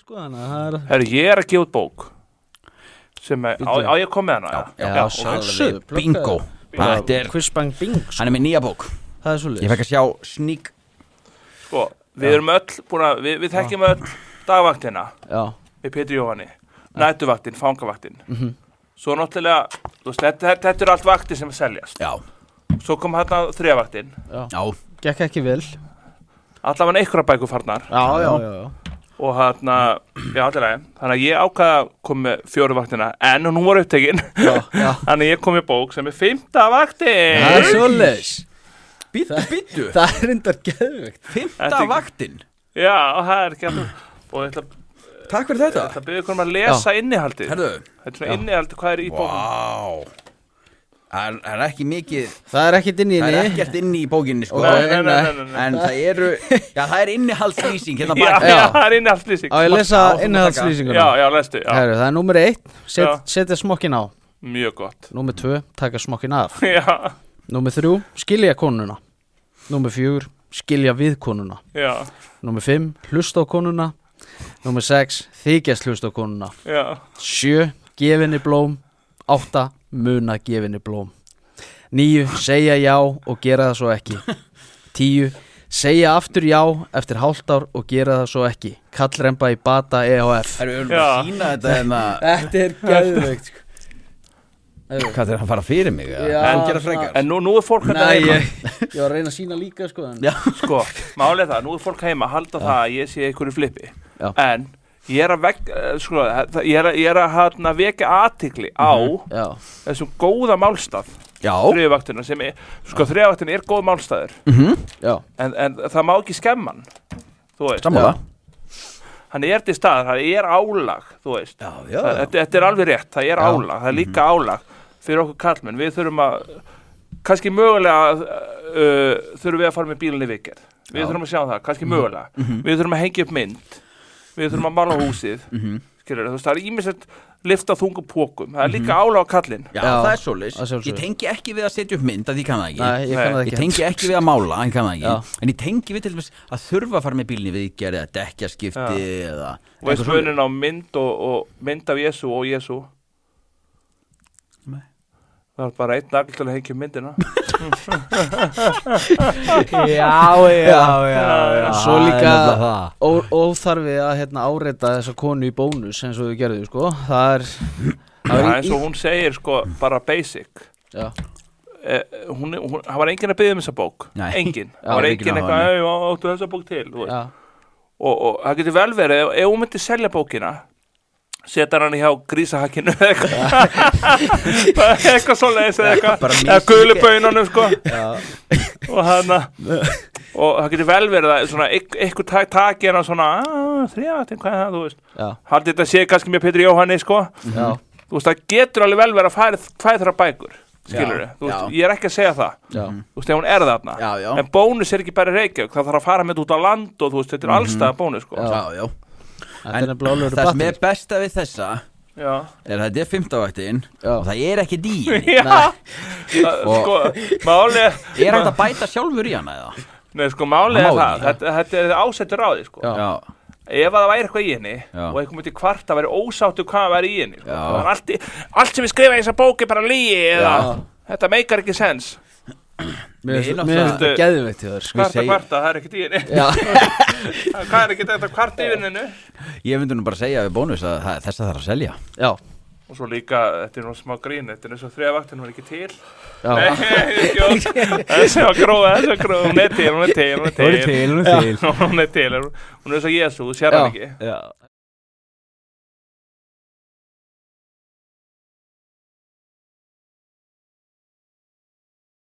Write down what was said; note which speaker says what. Speaker 1: sko þannig að það er
Speaker 2: Herru, ég er að gefa út bók sem er, á,
Speaker 1: Bíddu.
Speaker 2: á ég að koma með hana
Speaker 3: Já,
Speaker 2: já,
Speaker 3: já, sjálfsögðu,
Speaker 1: pluggaðu.
Speaker 3: bingo Þetta er,
Speaker 1: Quiz Bang Bing sko.
Speaker 3: hann er með nýja bók
Speaker 1: það er svolítið
Speaker 3: Ég fekk að sjá sník
Speaker 2: sko, við erum öll búin að, við, við þekkjum öll dagvaktina
Speaker 1: já,
Speaker 2: með Pétur Jóhanni nætuvaktin, fangavaktin
Speaker 3: Mhm.
Speaker 2: svo náttúrulega, þú veist, þetta, þetta eru allt vaktir sem seljast,
Speaker 3: Já,
Speaker 2: svo kom hérna þrjavaktin,
Speaker 3: já,
Speaker 1: gekk ekki vel já,
Speaker 2: allavega einhverja bækur farnar
Speaker 1: já, já, já.
Speaker 2: og hérna, já allavega þannig að ég ákvaða að koma með fjóru vaktina en hún var upptekinn
Speaker 1: já.
Speaker 2: þannig að ég kom með bók sem er fymta vaktin
Speaker 1: það er svolítið
Speaker 3: býttu,
Speaker 1: Það-
Speaker 3: býttu
Speaker 1: það er reyndar geðveikt
Speaker 3: Fymta
Speaker 2: Þetta-
Speaker 3: vaktin,
Speaker 2: já, og það er ekki alltaf og ég ætla,
Speaker 3: takk fyrir
Speaker 2: ég ætla
Speaker 3: þetta
Speaker 2: að byggja ykkur um að lesa innihaldið
Speaker 3: Herðu,
Speaker 2: þetta er svona innihaldið, hvað er í bókum
Speaker 3: vá Það er- það er ekki mikið
Speaker 1: það er ekkert inn í
Speaker 3: Það er
Speaker 1: henni
Speaker 3: ekkert inni í bókinni sko
Speaker 2: Nei, nei, nei, nei, nei.
Speaker 3: En það eru, já það er innihaldslýsing hérna
Speaker 2: já,
Speaker 3: bak
Speaker 2: já,
Speaker 1: Já.
Speaker 2: það er innihaldið
Speaker 1: á ég að lesa
Speaker 3: Á, þú mátt taka.
Speaker 2: já,
Speaker 1: innhaldslýsinguna
Speaker 2: já, lestu, já,
Speaker 1: Heru, það er númer eitt,
Speaker 2: Já.
Speaker 1: Set, setja smokkin á
Speaker 2: mjög gott
Speaker 1: Númer tvö, taka smokkin af
Speaker 2: já,
Speaker 1: Númer þrjú, skilja konuna Númer fjögur, skilja við konuna
Speaker 2: já,
Speaker 1: Númer fimm, hlusta á konuna Númer sex, þykjast hlusta á konuna
Speaker 2: já
Speaker 1: Sjö, gefinni blóm Átta, muna gefinni blóm Níu, segja já og gera það svo ekki Tíu, segja aftur já eftir hálft ár og gera það svo ekki Kallremba í bata E EHF
Speaker 3: Það eru
Speaker 2: Já.
Speaker 3: að sína þetta hérna. en að
Speaker 1: Þetta er sko. gæðveikt
Speaker 3: Hvað er hann að fara fyrir mig?
Speaker 1: Já,
Speaker 3: en gera frekar
Speaker 2: En nú, nú er fólk hérna
Speaker 1: Nei,
Speaker 2: heima
Speaker 1: ég, ég var að reyna að sína líka sko en...
Speaker 3: Já.
Speaker 2: Sko, málið er það, nú er fólk heima að halda það að ég sé einhverju flipi
Speaker 1: Já.
Speaker 2: En ég er að vek, eh, sko, það- ég er að, ég er að hana, vekja athygli á
Speaker 1: Já,
Speaker 2: þessum góða málstað
Speaker 3: Já,
Speaker 2: þriðvaktina sem er, sko þriðvaktina er góð málstaður
Speaker 3: Mhm,
Speaker 1: já,
Speaker 2: en, en það má ekki skemma hann þú veist,
Speaker 3: sammála
Speaker 2: hann er til stað, það er álag þú veist,
Speaker 3: Já,
Speaker 2: það,
Speaker 3: já, Mhm.
Speaker 2: þetta, þetta er alveg rétt, það er álag það er líka álag fyrir okkur karlmenn við þurfum að, kannski mögulega uh, þurfum við að fara með bílinni vikir, við
Speaker 3: Já. Mhm.
Speaker 2: þurfum að sjá það kannski mögulega, við þurfum að hengja upp mynd við þurfum að mála húsið mm
Speaker 3: Mhm.
Speaker 2: -hmm. þú veist, það er ímislegt lifta þungum pókum, það er
Speaker 3: Mhm.
Speaker 2: líka álag á kallinn
Speaker 1: Já,
Speaker 3: Já, það er
Speaker 1: að
Speaker 3: svoleiðis
Speaker 1: sjálfsögðu.
Speaker 3: Ég tengi ekki við að setja upp mynd að því kann það ekki
Speaker 1: nei, ég kann
Speaker 2: Nei,
Speaker 1: það
Speaker 3: Ég
Speaker 1: ekki
Speaker 3: tengi ekki við að mála, hann kann það ekki
Speaker 1: Já.
Speaker 3: En ég tengi við til þess að þurfa að fara með bílinni við gerði eða dekkjaskipti eða
Speaker 2: og veist
Speaker 3: eitthvað svoleiðis.
Speaker 2: munin á mynd og, og mynd af Jésu og Jésu
Speaker 3: Nei.
Speaker 2: það er bara einn nagl til að hengja upp myndina
Speaker 1: Já, já, já,
Speaker 3: Já,
Speaker 1: Svo
Speaker 3: það er
Speaker 1: líka
Speaker 3: Ah, nefnilega það.
Speaker 1: ó- óþarfi að hérna, áreita þessa konu í bónus eins og þau gerðu, sko Það er
Speaker 2: það
Speaker 1: í-
Speaker 2: er eins og hún segir sko bara basic
Speaker 1: Já,
Speaker 2: Eh, hún, hún, það var enginn að byggja um þessa bók
Speaker 3: Nei.
Speaker 2: enginn, það
Speaker 3: það
Speaker 2: var
Speaker 3: er enginn
Speaker 2: enginn
Speaker 3: að
Speaker 2: eitthvað
Speaker 3: hafa
Speaker 2: "Æ, já, áttu þessa bók til þú veist.
Speaker 1: já,
Speaker 2: og, og það getur vel verið, ef- ef hún myndi selja bókina setja hann hjá grísahakkinu eða eitthvað Bara eitthvað svoleiðis eða
Speaker 3: bara
Speaker 2: eitthvað
Speaker 3: mjög
Speaker 2: eða
Speaker 3: mikið.
Speaker 2: guluböinunum sko og hann og það getur vel verið að svona eit- eitthvað tak- taki hann á svona þrjáttinn, hvað er það, þú veist
Speaker 1: já,
Speaker 2: haldið þetta sé kannski með Pétur Jóhanni sko
Speaker 1: já
Speaker 2: þú veist, það getur alveg vel verið að færi hvað þeirra bækur, skilur
Speaker 3: Já,
Speaker 2: þú veist,
Speaker 3: já.
Speaker 2: ég er ekki að segja það
Speaker 1: Já,
Speaker 2: þú veist, ef hún er þarna
Speaker 3: Já, já.
Speaker 2: en bónus er ekki bara í Reykjavík, það þarf að fara með þetta út á land og þú veist, þetta er allstað bónus sko.
Speaker 1: Já.
Speaker 3: Mhm. Já, já
Speaker 1: þetta er nefnilega alveg
Speaker 3: Það sem
Speaker 1: battir
Speaker 3: er besta við þessa
Speaker 2: já,
Speaker 3: er að þetta er fimmtavaktin
Speaker 1: Já.
Speaker 3: og það er ekki dýr
Speaker 2: já. Það,
Speaker 3: Og-
Speaker 2: sko, máli
Speaker 3: Er hægt að bæta sjálfur í hana eða?
Speaker 2: nei, sko, máli er
Speaker 3: Má ekki.
Speaker 2: það, þetta, þetta er ásettur á því sko.
Speaker 1: Já.
Speaker 2: ef að það væri eitthvað í henni
Speaker 3: Já.
Speaker 2: og eitthvað myndi kvarta, væri ósáttu hvað það væri í henni sko.
Speaker 3: Já.
Speaker 2: Það er allt, í- allt sem ég skrifa í þessa bóki bara lígi eða,
Speaker 1: Já.
Speaker 2: þetta meikar ekki sens
Speaker 1: Mér
Speaker 3: Við
Speaker 1: finnst- mér finnst þetta
Speaker 2: náttúrulega-
Speaker 1: geðveikt í þér, sko
Speaker 2: kvarta,
Speaker 3: segjum-
Speaker 2: kvarta, það er ekkert í henni
Speaker 1: Já,
Speaker 2: hvað er ekkert þetta kvarta í vinninu
Speaker 3: Ég myndi nú bara segja við bónus að það- þessa þarf að selja
Speaker 1: já,
Speaker 2: og svo líka, þetta er nú smá grín þetta er eins og þrjavaktin, hún er ekki til
Speaker 1: já
Speaker 2: Nei, djók. þessi var gróða, þessi var gróða hún er til, hún er til, hún er til
Speaker 3: hún er til
Speaker 2: hún er til, hún er eins og Jésu, þú sér
Speaker 1: Já.
Speaker 2: hann ekki
Speaker 3: Já